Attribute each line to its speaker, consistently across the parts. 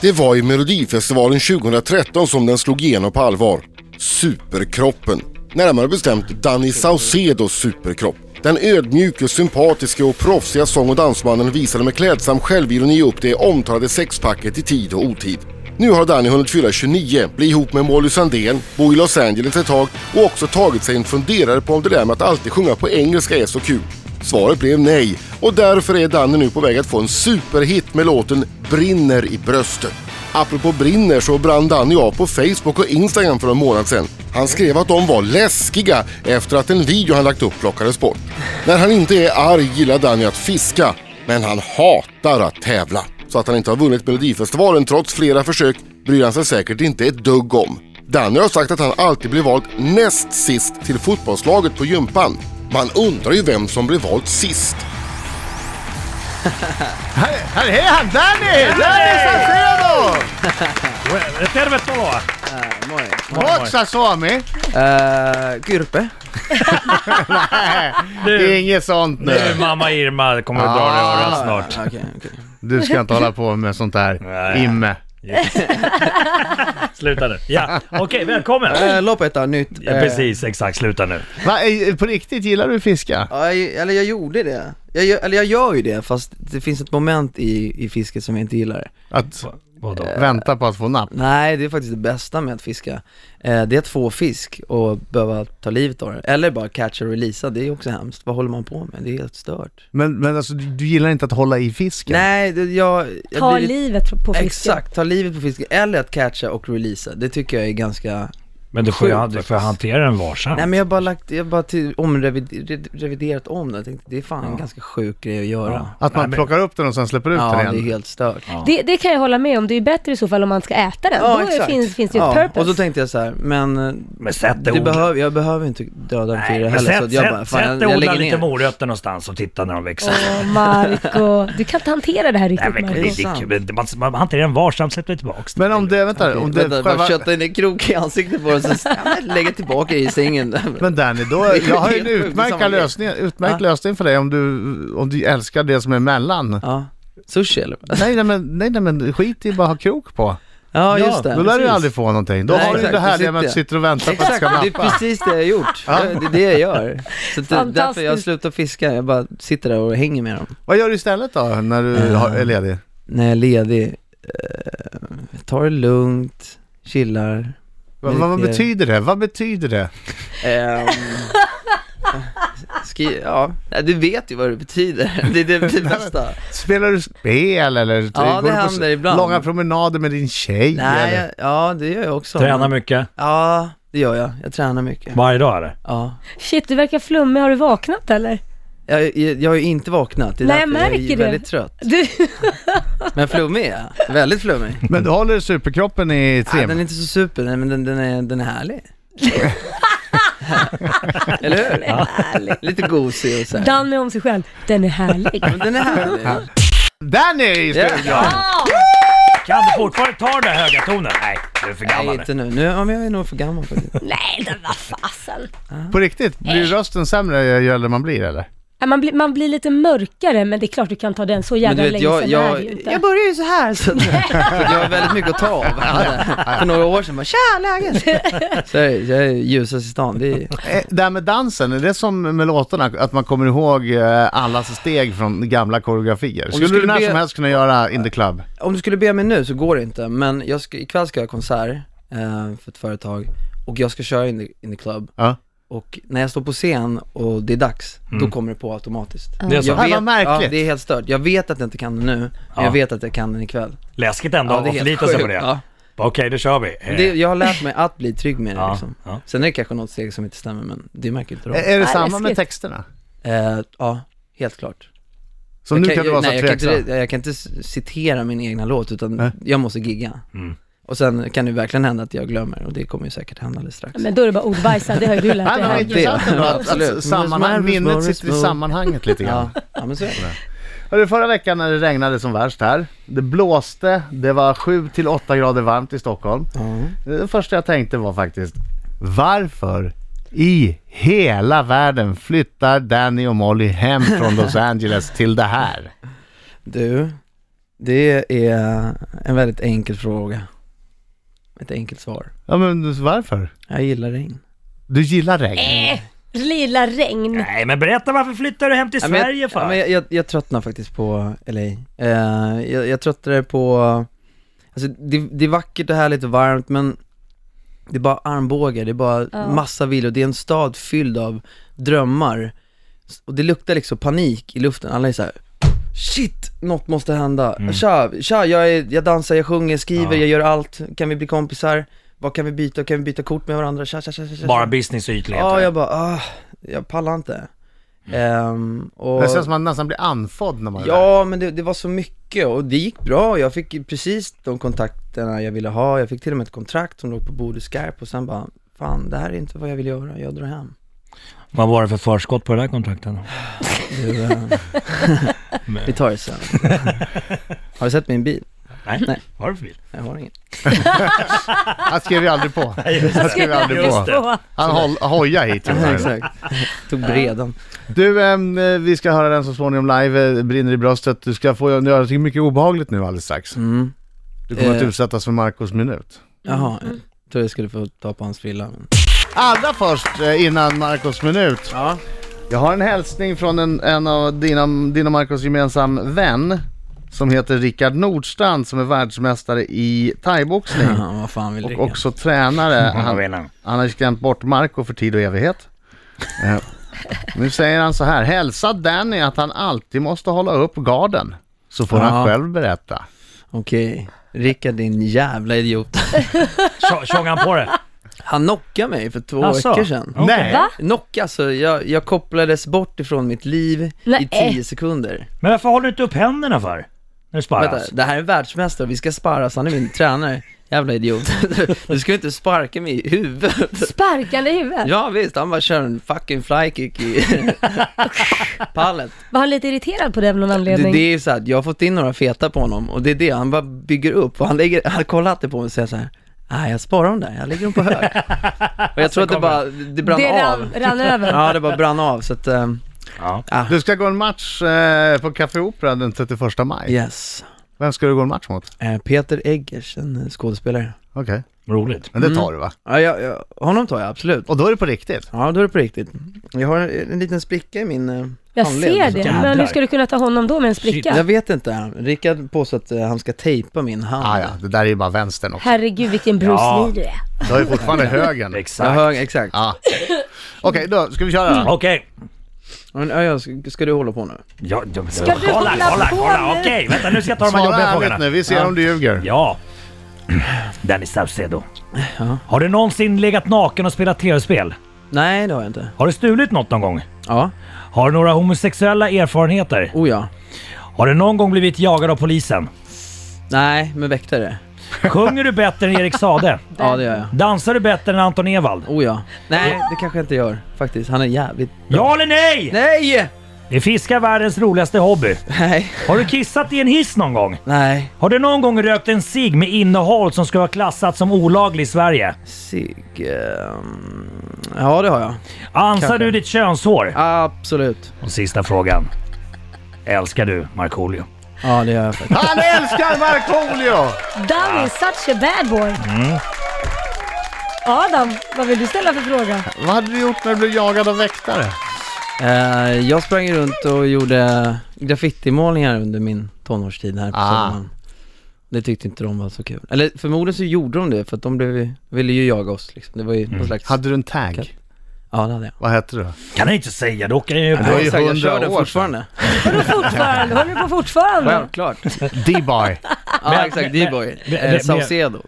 Speaker 1: Det var i Melodifestivalen 2013 som den slog igenom på allvar. Superkroppen. Närmare bestämt Danny Saucedos superkropp. Den ödmjuke, sympatiske och proffsiga sång och dansmannen visade med klädsam självironi upp det omtalade sexpacket i tid och otid. Nu har Danny hunnit fylla 29, bli ihop med Molly Sandén, bo i Los Angeles ett tag och också tagit sig en funderare på om det där med att alltid sjunga på engelska är så kul. Svaret blev nej och därför är Danny nu på väg att få en superhit med låten “Brinner i bröstet”. Apropå brinner så brann Danny av på Facebook och Instagram för en månad sedan. Han skrev att de var läskiga efter att en video han lagt upp plockades bort. När han inte är arg gillar Danny att fiska, men han hatar att tävla. Så att han inte har vunnit Melodifestivalen trots flera försök bryr han sig säkert inte ett dugg om. Danny har sagt att han alltid blir vald näst sist till fotbollslaget på gympan. Man undrar ju vem som blir vald sist.
Speaker 2: Här, här är han! Danny! Danny Saucedo!
Speaker 3: Well, tervetuloa!
Speaker 4: Moi.
Speaker 2: Ootsa Suomi?
Speaker 4: Öö, Eh, kyrpe.
Speaker 2: Det är inget sånt nu.
Speaker 3: Nu, mamma Irma kommer att dra dig i
Speaker 4: Ah.
Speaker 3: örat snart.
Speaker 4: Okej, okej.
Speaker 2: Du ska inte hålla på med sånt där.
Speaker 3: Nej.
Speaker 2: Imme.
Speaker 3: Sluta nu. Ja, okej, välkommen!
Speaker 4: Öö, Lopeta Eh, nytt.
Speaker 3: Ja, precis, exakt, sluta nu.
Speaker 2: Va, eh, på riktigt, gillar du fiska?
Speaker 4: Eh, Ja, jag- eller jag gjorde det. Jag, gör- eller jag gör ju det, fast det finns ett moment i, i fisket som jag inte gillar.
Speaker 2: Att Eh,
Speaker 3: Vadå?
Speaker 2: vänta på att få napp?
Speaker 4: Nej, det är faktiskt det bästa med att fiska. Eh, det är att få fisk och behöva ta livet av den. Eller bara catcha och releasa, det är också hemskt. Vad håller man på med? Det är helt stört.
Speaker 2: Men, men alltså, du, du gillar inte att hålla i fisken?
Speaker 4: Nej, det, jag... jag
Speaker 5: Ta
Speaker 4: blir-
Speaker 5: livet på- på fisken.
Speaker 4: Exakt, ta livet på fisken. Eller att catcha och releasa. Det tycker jag är ganska
Speaker 3: Men du får, ju,
Speaker 4: Sjukt
Speaker 3: du får hantera den varsamt.
Speaker 4: Nej men jag har bara lagt, jag har bara till, omreviderat om det, jag tänkte det är fan en ganska sjuk grej att göra.
Speaker 2: Att man
Speaker 3: Nej, men-
Speaker 2: plockar upp den och sen släpper ut
Speaker 4: Ja,
Speaker 2: den
Speaker 4: det är
Speaker 2: igen?
Speaker 4: helt stört. Ja,
Speaker 5: Det, det kan jag hålla med om. Det är ju bättre i så fall om man ska äta den. Då är- finns, finns det ju ett purpose.
Speaker 4: Och då tänkte jag så här, men, eh,
Speaker 3: Men sätt det
Speaker 4: det
Speaker 3: ord-
Speaker 4: behöver, jag behöver inte döda den till
Speaker 3: Nej,
Speaker 4: det
Speaker 3: men
Speaker 4: heller.
Speaker 3: sätt,
Speaker 4: så jag bara,
Speaker 3: sätt,
Speaker 4: fan,
Speaker 3: sätt
Speaker 4: jag,
Speaker 3: dig och
Speaker 4: jag
Speaker 3: odla
Speaker 4: lägger ner.
Speaker 3: lite morötter någonstans och titta när de växer.
Speaker 5: Åh, Marco. Du kan inte hantera det
Speaker 3: Nej,
Speaker 5: här riktigt,
Speaker 3: men, det,
Speaker 5: Marco.
Speaker 3: är kul. Men man, man hanterar den varsamt, släpper tillbaks den.
Speaker 2: Men om det, vänta, om det
Speaker 4: Vänta, bara
Speaker 2: själva...
Speaker 4: kötta in en krok i ansiktet på den så lägga tillbaka i sängen.
Speaker 2: Men Danny, då,
Speaker 4: Det är
Speaker 2: jag har ju en
Speaker 4: helt sjukt,
Speaker 2: utmärkt
Speaker 4: samma grej.
Speaker 2: lösning, utmärkt
Speaker 4: Ja.
Speaker 2: lösning för dig om du, om du älskar det som är mellan.
Speaker 4: Ja, sushi eller? vad?
Speaker 2: Nej, nej, men, nej, nej men skit i bara ha krok på.
Speaker 4: Ja, just det.
Speaker 2: Då lär du ju
Speaker 4: precis.
Speaker 2: aldrig få någonting. Då
Speaker 4: Nej,
Speaker 2: har du ju
Speaker 4: exakt,
Speaker 2: det
Speaker 4: då
Speaker 2: här
Speaker 4: sitter
Speaker 2: med att du
Speaker 4: jag.
Speaker 2: sitter och väntar på att det
Speaker 4: Exakt,
Speaker 2: ska
Speaker 4: det är
Speaker 2: nappa.
Speaker 4: precis det jag har gjort. Det det är det jag gör. Så att det, därför jag
Speaker 5: Fantastiskt.
Speaker 4: slutar fiska, jag bara sitter där och hänger med dem.
Speaker 2: Vad gör du istället då när du
Speaker 4: Eh.
Speaker 2: har- är ledig?
Speaker 4: när jag är ledig, eh, tar det lugnt, chillar.
Speaker 2: Vad, vad, vad
Speaker 4: Lite-
Speaker 2: betyder det? Vad betyder det?
Speaker 4: Ehm, skri- ja, nej, du vet ju vad det betyder. Det är det, det bästa.
Speaker 2: Spelar du spel eller
Speaker 4: Ja,
Speaker 2: går
Speaker 4: det
Speaker 2: du på
Speaker 4: händer
Speaker 2: s-
Speaker 4: ibland.
Speaker 2: långa promenader med din tjej?
Speaker 4: Nej,
Speaker 2: eller?
Speaker 4: jag, ja, det gör jag också.
Speaker 3: Tränar mycket.
Speaker 4: Ja, det gör jag. Jag tränar mycket.
Speaker 3: Varje dag eller?
Speaker 4: Ja.
Speaker 5: Shit, du verkar flummig. Har du vaknat eller?
Speaker 4: Jag, jag, jag har ju inte vaknat, det är
Speaker 5: Nej, jag
Speaker 4: därför jag
Speaker 5: märker
Speaker 4: är
Speaker 5: det.
Speaker 4: väldigt trött.
Speaker 5: Du,
Speaker 4: Men flummig är jag. Väldigt flummig.
Speaker 2: Men du håller superkroppen i trim?
Speaker 4: Nej, den är inte så super, nej, men den, den, är, den är härlig. Eller hur? Lite gosig och så här.
Speaker 5: Danny om sig själv. Den är härlig.
Speaker 4: Men den är härlig.
Speaker 2: Danny är i studion!
Speaker 3: Kan du fortfarande ta den där höga tonen? Nej, du är för
Speaker 4: Nej
Speaker 3: gammal nu.
Speaker 4: inte nu, nu ja, men jag är nog för gammal faktiskt.
Speaker 5: Nej, den var fasen.
Speaker 2: På riktigt, blir rösten sämre ju äldre man blir eller?
Speaker 5: Ja, Man, blir, man blir lite mörkare, men det är klart du kan ta den. Så
Speaker 4: Men
Speaker 5: jävla
Speaker 4: du vet,
Speaker 5: länge
Speaker 4: jag,
Speaker 5: sedan är det ju
Speaker 4: jag,
Speaker 5: inte.
Speaker 4: jag började ju så här så, att- så att jag har väldigt mycket att ta av. Jag hade För några år sedan bara tja läget! Så jag, är- jag är ljusast i stan, det är,
Speaker 2: Eh, Det här med dansen, är det som med låtarna, att man kommer ihåg eh, allas steg från gamla koreografier? Skulle,
Speaker 4: skulle
Speaker 2: du när
Speaker 4: be-
Speaker 2: som helst kunna göra In the Club?
Speaker 4: Om du skulle be mig nu så går det inte, men jag ska, ikväll ska jag ha konsert eh, för ett företag och jag ska köra in the, in the club
Speaker 2: Ja.
Speaker 4: och när jag står på scen och det är dags, då kommer det på automatiskt.
Speaker 3: Mm. Det är så.
Speaker 4: Jag
Speaker 2: Fan, vad märkligt.
Speaker 4: ja, det är helt stört. Jag vet att jag inte kan det nu, men
Speaker 3: Ja.
Speaker 4: jag vet att jag kan den ikväll.
Speaker 3: Läskigt ändå att
Speaker 4: det är helt
Speaker 3: förlita sig på
Speaker 4: sjukt.
Speaker 3: det.
Speaker 4: Ja.
Speaker 3: Okej, då kör vi. Eh,
Speaker 4: Det, jag har lärt mig att bli trygg med det
Speaker 3: Ja,
Speaker 4: liksom.
Speaker 3: ja.
Speaker 4: Sen är det kanske något steg som inte stämmer men det märker inte de.
Speaker 2: Är är det
Speaker 5: Nej,
Speaker 2: samma med
Speaker 5: läskigt.
Speaker 2: texterna?
Speaker 4: Eh, ja, helt klart.
Speaker 2: Så nu kan du vara så
Speaker 4: nej, jag, kan
Speaker 2: tveksam?
Speaker 4: inte, jag kan inte c- citera min egna låt utan
Speaker 2: Nej.
Speaker 4: jag måste gigga.
Speaker 3: Mm.
Speaker 4: Och sen kan det verkligen hända att jag glömmer och det kommer ju säkert hända alldeles strax.
Speaker 5: Men då är det bara ordbajsa. Det har ju du lärt
Speaker 2: Nej,
Speaker 5: dig.
Speaker 2: men vad
Speaker 4: det-
Speaker 5: här.
Speaker 2: intressant ändå att,
Speaker 4: Absolut.
Speaker 2: att sammanhang, minnet sitter i sammanhanget lite grann.
Speaker 4: ja, ja, men så är det.
Speaker 2: Hörru, förra veckan när det regnade som värst här, det blåste, det var 7-8 grader varmt i Stockholm.
Speaker 4: Ja.
Speaker 2: Det första jag tänkte var faktiskt, varför i hela världen flyttar Danny och Molly hem från Los Angeles till det här?
Speaker 4: Du, Det är en väldigt enkel fråga. Ett enkelt svar.
Speaker 2: Ja men varför?
Speaker 4: Jag gillar regn.
Speaker 2: Du gillar regn?
Speaker 5: Eh, lilla regn.
Speaker 3: Nej men berätta varför flyttar du hem till
Speaker 4: Ja, men jag-
Speaker 3: Sverige för?
Speaker 4: Ja, men jag, jag, jag tröttnar faktiskt på LA. Eh, jag, jag tröttnar på, alltså det, det är vackert och härligt och varmt men det är bara armbågar, det är bara
Speaker 5: Ja.
Speaker 4: massa villor, det är en stad fylld av drömmar. S- Och det luktar liksom panik i luften, alla är så här. Shit, något måste hända. Tja, tja jag, är, jag dansar, jag sjunger, skriver,
Speaker 3: Mm. Ja.
Speaker 4: jag gör allt. Kan vi bli kompisar? Vad kan vi byta? Kan vi byta kort med varandra? Tja, tja, tja, tja, tja.
Speaker 3: Bara business och ytligheter.
Speaker 4: Ja, jag bara, ah, jag pallar inte. Ehm, och,
Speaker 2: Det känns som att man nästan blir andfådd när man är där.
Speaker 4: ja, men det, det var så mycket och det gick bra. Jag fick ju precis de kontakterna jag ville ha. Jag fick till och med ett kontrakt som låg på bordet Skype och sen bara, fan det här är inte vad jag vill göra, jag drar hem.
Speaker 3: Vad var det för förskott på det där kontraktet?
Speaker 4: Du, eh, vi tar det sen. har du sett min bil?
Speaker 3: Nej.
Speaker 4: Nej.
Speaker 3: Vad har du för bil?
Speaker 4: Jag har ingen.
Speaker 2: Han skrev ju aldrig på. Han skrev ju aldrig
Speaker 3: Just
Speaker 2: på.
Speaker 3: det.
Speaker 5: Åh,
Speaker 2: Han hol- hojade hit.
Speaker 4: Exakt. Tog bredan.
Speaker 2: Du, ehm, eh, vi ska höra den så småningom live, eh, brinner i bröstet. Du ska få göra någonting mycket obehagligt nu alldeles strax.
Speaker 4: Mm.
Speaker 2: Du kommer att
Speaker 4: Eh.
Speaker 2: utsättas för Marcos minut.
Speaker 4: Jaha, jag trodde jag skulle få ta på hans frilla. men-
Speaker 2: Allra först, eh, innan Marcos minut.
Speaker 4: Ja.
Speaker 2: Jag har en hälsning från en, en av dina, din och Marcos gemensam vän som heter Rickard Nordstrand som är världsmästare i thaiboxning
Speaker 4: Ja, vad fan vill
Speaker 2: och
Speaker 4: Rickard?
Speaker 2: också tränare.
Speaker 3: Han,
Speaker 2: Han, han har skrämt bort Marco för tid och evighet. Eh, Nu säger han så här, hälsa Danny att han alltid måste hålla upp garden. Så får han
Speaker 4: Ja.
Speaker 2: själv berätta.
Speaker 4: Okej, Rickard din jävla idiot.
Speaker 3: Tjo- Tjongade han på det?
Speaker 4: Han knockade mig för två
Speaker 3: Asså?
Speaker 4: veckor sedan.
Speaker 3: Okej.
Speaker 2: Nej.
Speaker 5: Va?
Speaker 4: Knock alltså, jag, jag kopplades bort ifrån mitt liv
Speaker 5: Nej.
Speaker 4: i tio sekunder.
Speaker 3: Men varför håller du inte upp händerna för? När du sparras?
Speaker 4: Vänta, det här är världsmästare, vi ska sparras, han är min tränare. Jävla idiot. Du- Du ska ju inte sparka mig i huvudet.
Speaker 5: Sparkande i huvudet.
Speaker 4: Ja visst, han bara kör en fucking flykick i pallet.
Speaker 5: Var han lite irriterad på det av någon
Speaker 4: Det,
Speaker 5: anledning?
Speaker 4: det är ju så att jag har fått in några feta på honom och det är det, han bara bygger upp och han lägger, han kollar alltid på mig och säger så här. Nej, jag sparar dem där, jag lägger dem på hög. Och jag tror att det bara, det brann
Speaker 5: Det
Speaker 4: av.
Speaker 5: rann, rann över.
Speaker 4: Ja, det bara brann av så att, ehm,
Speaker 3: Ja.
Speaker 2: Du ska gå en match eh, på Café Opera den 31 maj.
Speaker 4: yes.
Speaker 2: Vem ska du gå en match mot?
Speaker 4: Eh, Peter Eggers, en eh, skådespelare.
Speaker 2: Okej,
Speaker 3: Roligt.
Speaker 2: men det tar du va?
Speaker 4: Ja, jag, jag, honom tar jag absolut.
Speaker 2: Och då är det på riktigt?
Speaker 4: Ja, då är det på riktigt. Jag har en liten spricka i min eh,
Speaker 5: Jag
Speaker 4: handled,
Speaker 5: ser
Speaker 4: så-
Speaker 5: det.
Speaker 3: Jävlar.
Speaker 5: Men hur ska du kunna ta honom då med en spricka?
Speaker 4: Jag vet inte. Rickard påstår att eh, han ska tejpa min hand.
Speaker 2: Ah, ja, det där är ju bara vänstern också.
Speaker 5: Herregud vilken Bruce
Speaker 3: Ja.
Speaker 5: Lee du är.
Speaker 2: Du har ju fortfarande högern.
Speaker 4: Jag
Speaker 3: Exakt.
Speaker 4: hör, exakt.
Speaker 2: Ah. Okej, då ska vi köra.
Speaker 3: Okej.
Speaker 4: Men, ja, ja, ska, ska du hålla på nu?
Speaker 3: Ja, ja, ska
Speaker 5: du hålla på nu?
Speaker 3: Okej, vänta nu ska jag ta de här
Speaker 2: Svara
Speaker 3: jobbiga
Speaker 2: ärligt
Speaker 3: frågorna.
Speaker 2: nu, vi ser om du ljuger.
Speaker 3: Ja. Danny Saucedo. Har du någonsin legat naken och spelat tv-spel?
Speaker 4: Nej, det har jag inte.
Speaker 3: Har du stulit något någon gång?
Speaker 4: Ja.
Speaker 3: Har du några homosexuella erfarenheter?
Speaker 4: Oh ja.
Speaker 3: Har du någon gång blivit jagad av polisen?
Speaker 4: Nej, men väktare.
Speaker 3: Sjunger du bättre än Erik Sade?
Speaker 4: Ja, det gör jag.
Speaker 3: Dansar du bättre än Anton Ewald?
Speaker 4: Oh ja. Nej, det kanske jag inte gör faktiskt. Han är jävligt...
Speaker 3: Ja eller nej?
Speaker 4: Nej!
Speaker 3: Är fiska världens roligaste hobby?
Speaker 4: Nej.
Speaker 3: Har du kissat i en hiss någon gång?
Speaker 4: Nej.
Speaker 3: Har du någon gång rökt en cigg med innehåll som ska vara klassat som olaglig i Sverige?
Speaker 4: Sig... ehm, Ja, det har jag.
Speaker 3: Ansar
Speaker 4: Kanske.
Speaker 3: du ditt könshår?
Speaker 4: Absolut.
Speaker 3: Och sista frågan. Älskar du Markoolio?
Speaker 4: Ja, det gör jag faktiskt.
Speaker 2: Han älskar Markoolio!
Speaker 5: Danny, such a bad boy. Adam, vad vill du ställa för fråga?
Speaker 2: Vad hade du gjort när du blev jagad av väktare?
Speaker 4: Eh, jag sprang runt och gjorde graffitimålningar under min tonårstid här på
Speaker 2: Ah.
Speaker 4: sommaren. Det tyckte inte de var så kul. Eller förmodligen så gjorde de det för att de blev, ju- ville ju jaga oss liksom. Det var ju någon slags...
Speaker 2: Hade du en tagg?
Speaker 4: Ja, det hade jag.
Speaker 2: Vad hette du?
Speaker 3: Kan jag inte säga, då åker jag ju
Speaker 2: var
Speaker 3: på.
Speaker 2: ju
Speaker 4: Exakt, jag
Speaker 2: 100
Speaker 4: kör den
Speaker 2: år sedan.
Speaker 4: fortfarande.
Speaker 5: Vadå fortfarande? Håller du på fortfarande?
Speaker 4: Självklart.
Speaker 2: D-boy.
Speaker 4: ja, exakt. D-boy.
Speaker 3: men-
Speaker 4: Eh,
Speaker 3: men-
Speaker 4: Saucedo.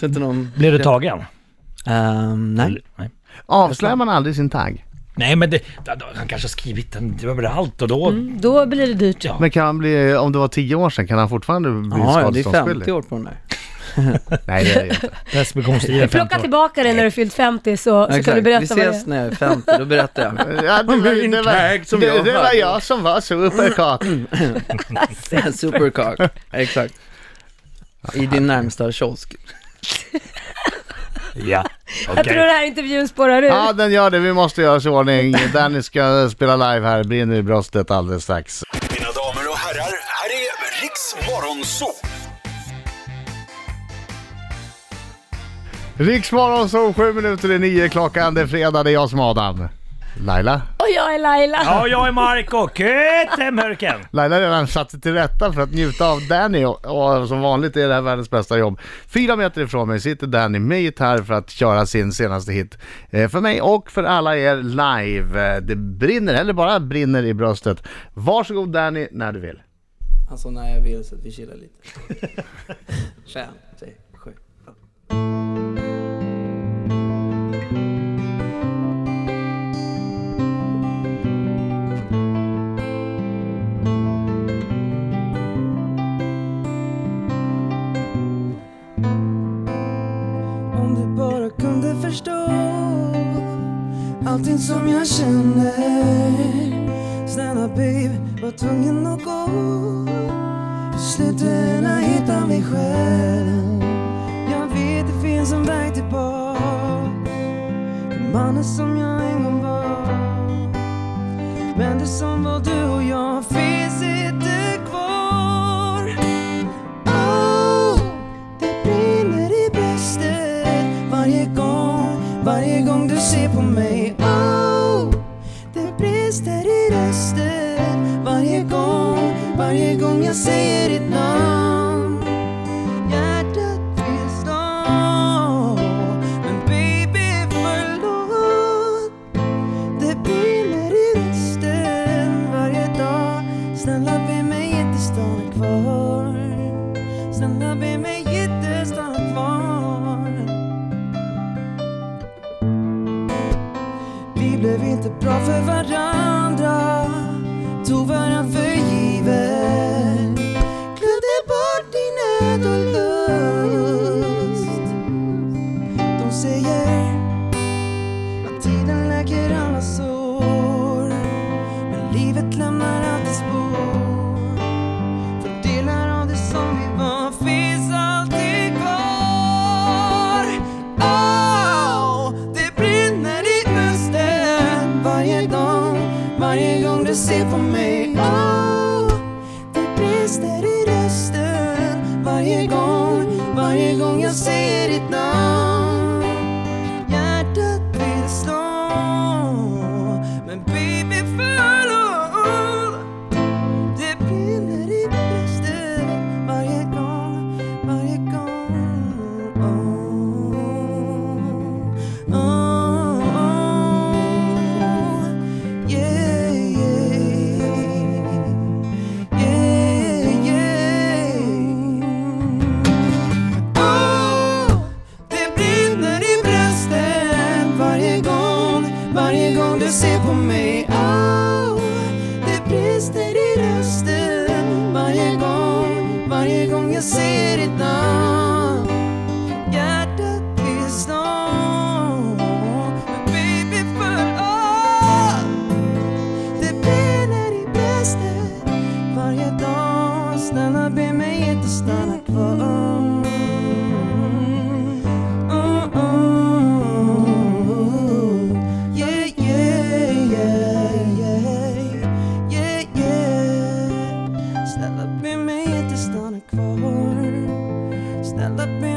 Speaker 4: Så inte någon...
Speaker 3: Blev du tagen?
Speaker 4: Ehm, nej.
Speaker 3: Nej.
Speaker 2: Avslöjar man aldrig sin tagg?
Speaker 3: Nej men det, han kanske har skrivit den överallt och då...
Speaker 5: Då blir det dyrt.
Speaker 3: Ja.
Speaker 2: Men kan han bli, om det var 10 år sedan, kan han fortfarande bli
Speaker 4: Ja, ja, det är 50
Speaker 2: skadeståndsskyldig?
Speaker 4: år på den där.
Speaker 2: Nej, det är det inte.
Speaker 3: Preskriptionstiden
Speaker 5: Plocka
Speaker 3: 15 år.
Speaker 5: tillbaka dig när du fyllt 50 så, så kan du
Speaker 4: Vi
Speaker 5: berätta vad det
Speaker 4: ses
Speaker 5: är.
Speaker 4: när jag är 50, då berättar jag.
Speaker 2: Ja, det, var, det,
Speaker 4: tagg
Speaker 2: var,
Speaker 4: som
Speaker 2: det,
Speaker 4: jag
Speaker 2: det var
Speaker 4: hade. Mm.
Speaker 2: jag som var superkak.
Speaker 4: Supercock, exakt. I din närmsta kiosk.
Speaker 3: Ja.
Speaker 5: Jag tror den här intervjun spårar ur.
Speaker 2: Ja, den gör det. Vi måste göra oss i ordning. Danny ska spela live här, brinner i bröstet alldeles strax.
Speaker 6: Mina damer och herrar, här är Riks
Speaker 2: Riksmorgon så sju minuter i nio klockan. Det är fredag, det är jag som är Adam. Laila?
Speaker 5: Och jag är Laila.
Speaker 3: Ja, jag är Marco. Köttemörken!
Speaker 2: Laila har redan satt sig till rätta för att njuta av Danny och, och som vanligt är det här världens bästa jobb. Fyra meter ifrån mig sitter Danny med gitarr för att köra sin senaste hit. Eh, för mig och för alla er live. Eh, det brinner, eller bara brinner i bröstet. Varsågod Danny, när du vill.
Speaker 6: Alltså när jag vill så att vi chillar lite. Fem, sex, sju.
Speaker 7: Om du bara kunde förstå allting som jag känner Snälla babe, var tvungen att gå I slutändan hitta mig själv Jag vet det finns en väg tillbaka Till mannen som jag en gång var Men det som var du och jag finns inte kvar Oh, det brinner i bröstet varje gång, varje gång du ser på mig. Oh, det brister i rösten varje gång, varje gång jag säger ditt namn. Hjärtat vill slå, men baby förlåt. Det brinner i rösten varje dag. Snälla be mig inte stanna kvar. Snälla be mig inte stanna kvar Vi blev inte bra för varandra Tog varandra för givet Glömde bort din nöd och lust De säger att tiden läker alla sår Men livet lämnar alltid spår för delar av det som vi var finns alltid kvar. Oh, det brinner i bröstet varje gång, varje gång du ser på mig. Oh, det brister i rösten varje gång, varje gång jag säger ditt namn. Hjärtat vill slå, men baby förlåt. Det brinner i bröstet varje gång, varje gång oh, oh, oh. Yeah, yeah. Yeah, yeah. Oh, det brinner i bröstet varje gång, varje gång du ser på mig oh, det brister i rösten varje gång, varje gång jag ser ditt namn. Hjärtat vill slå, men baby förlåt. Det brinner i bröstet varje dag. Snälla be mig inte stanna kvar. Oh, oh, oh. Yeah, yeah, yeah, yeah, yeah, yeah. Snälla be mig inte stanna kvar. Snälla be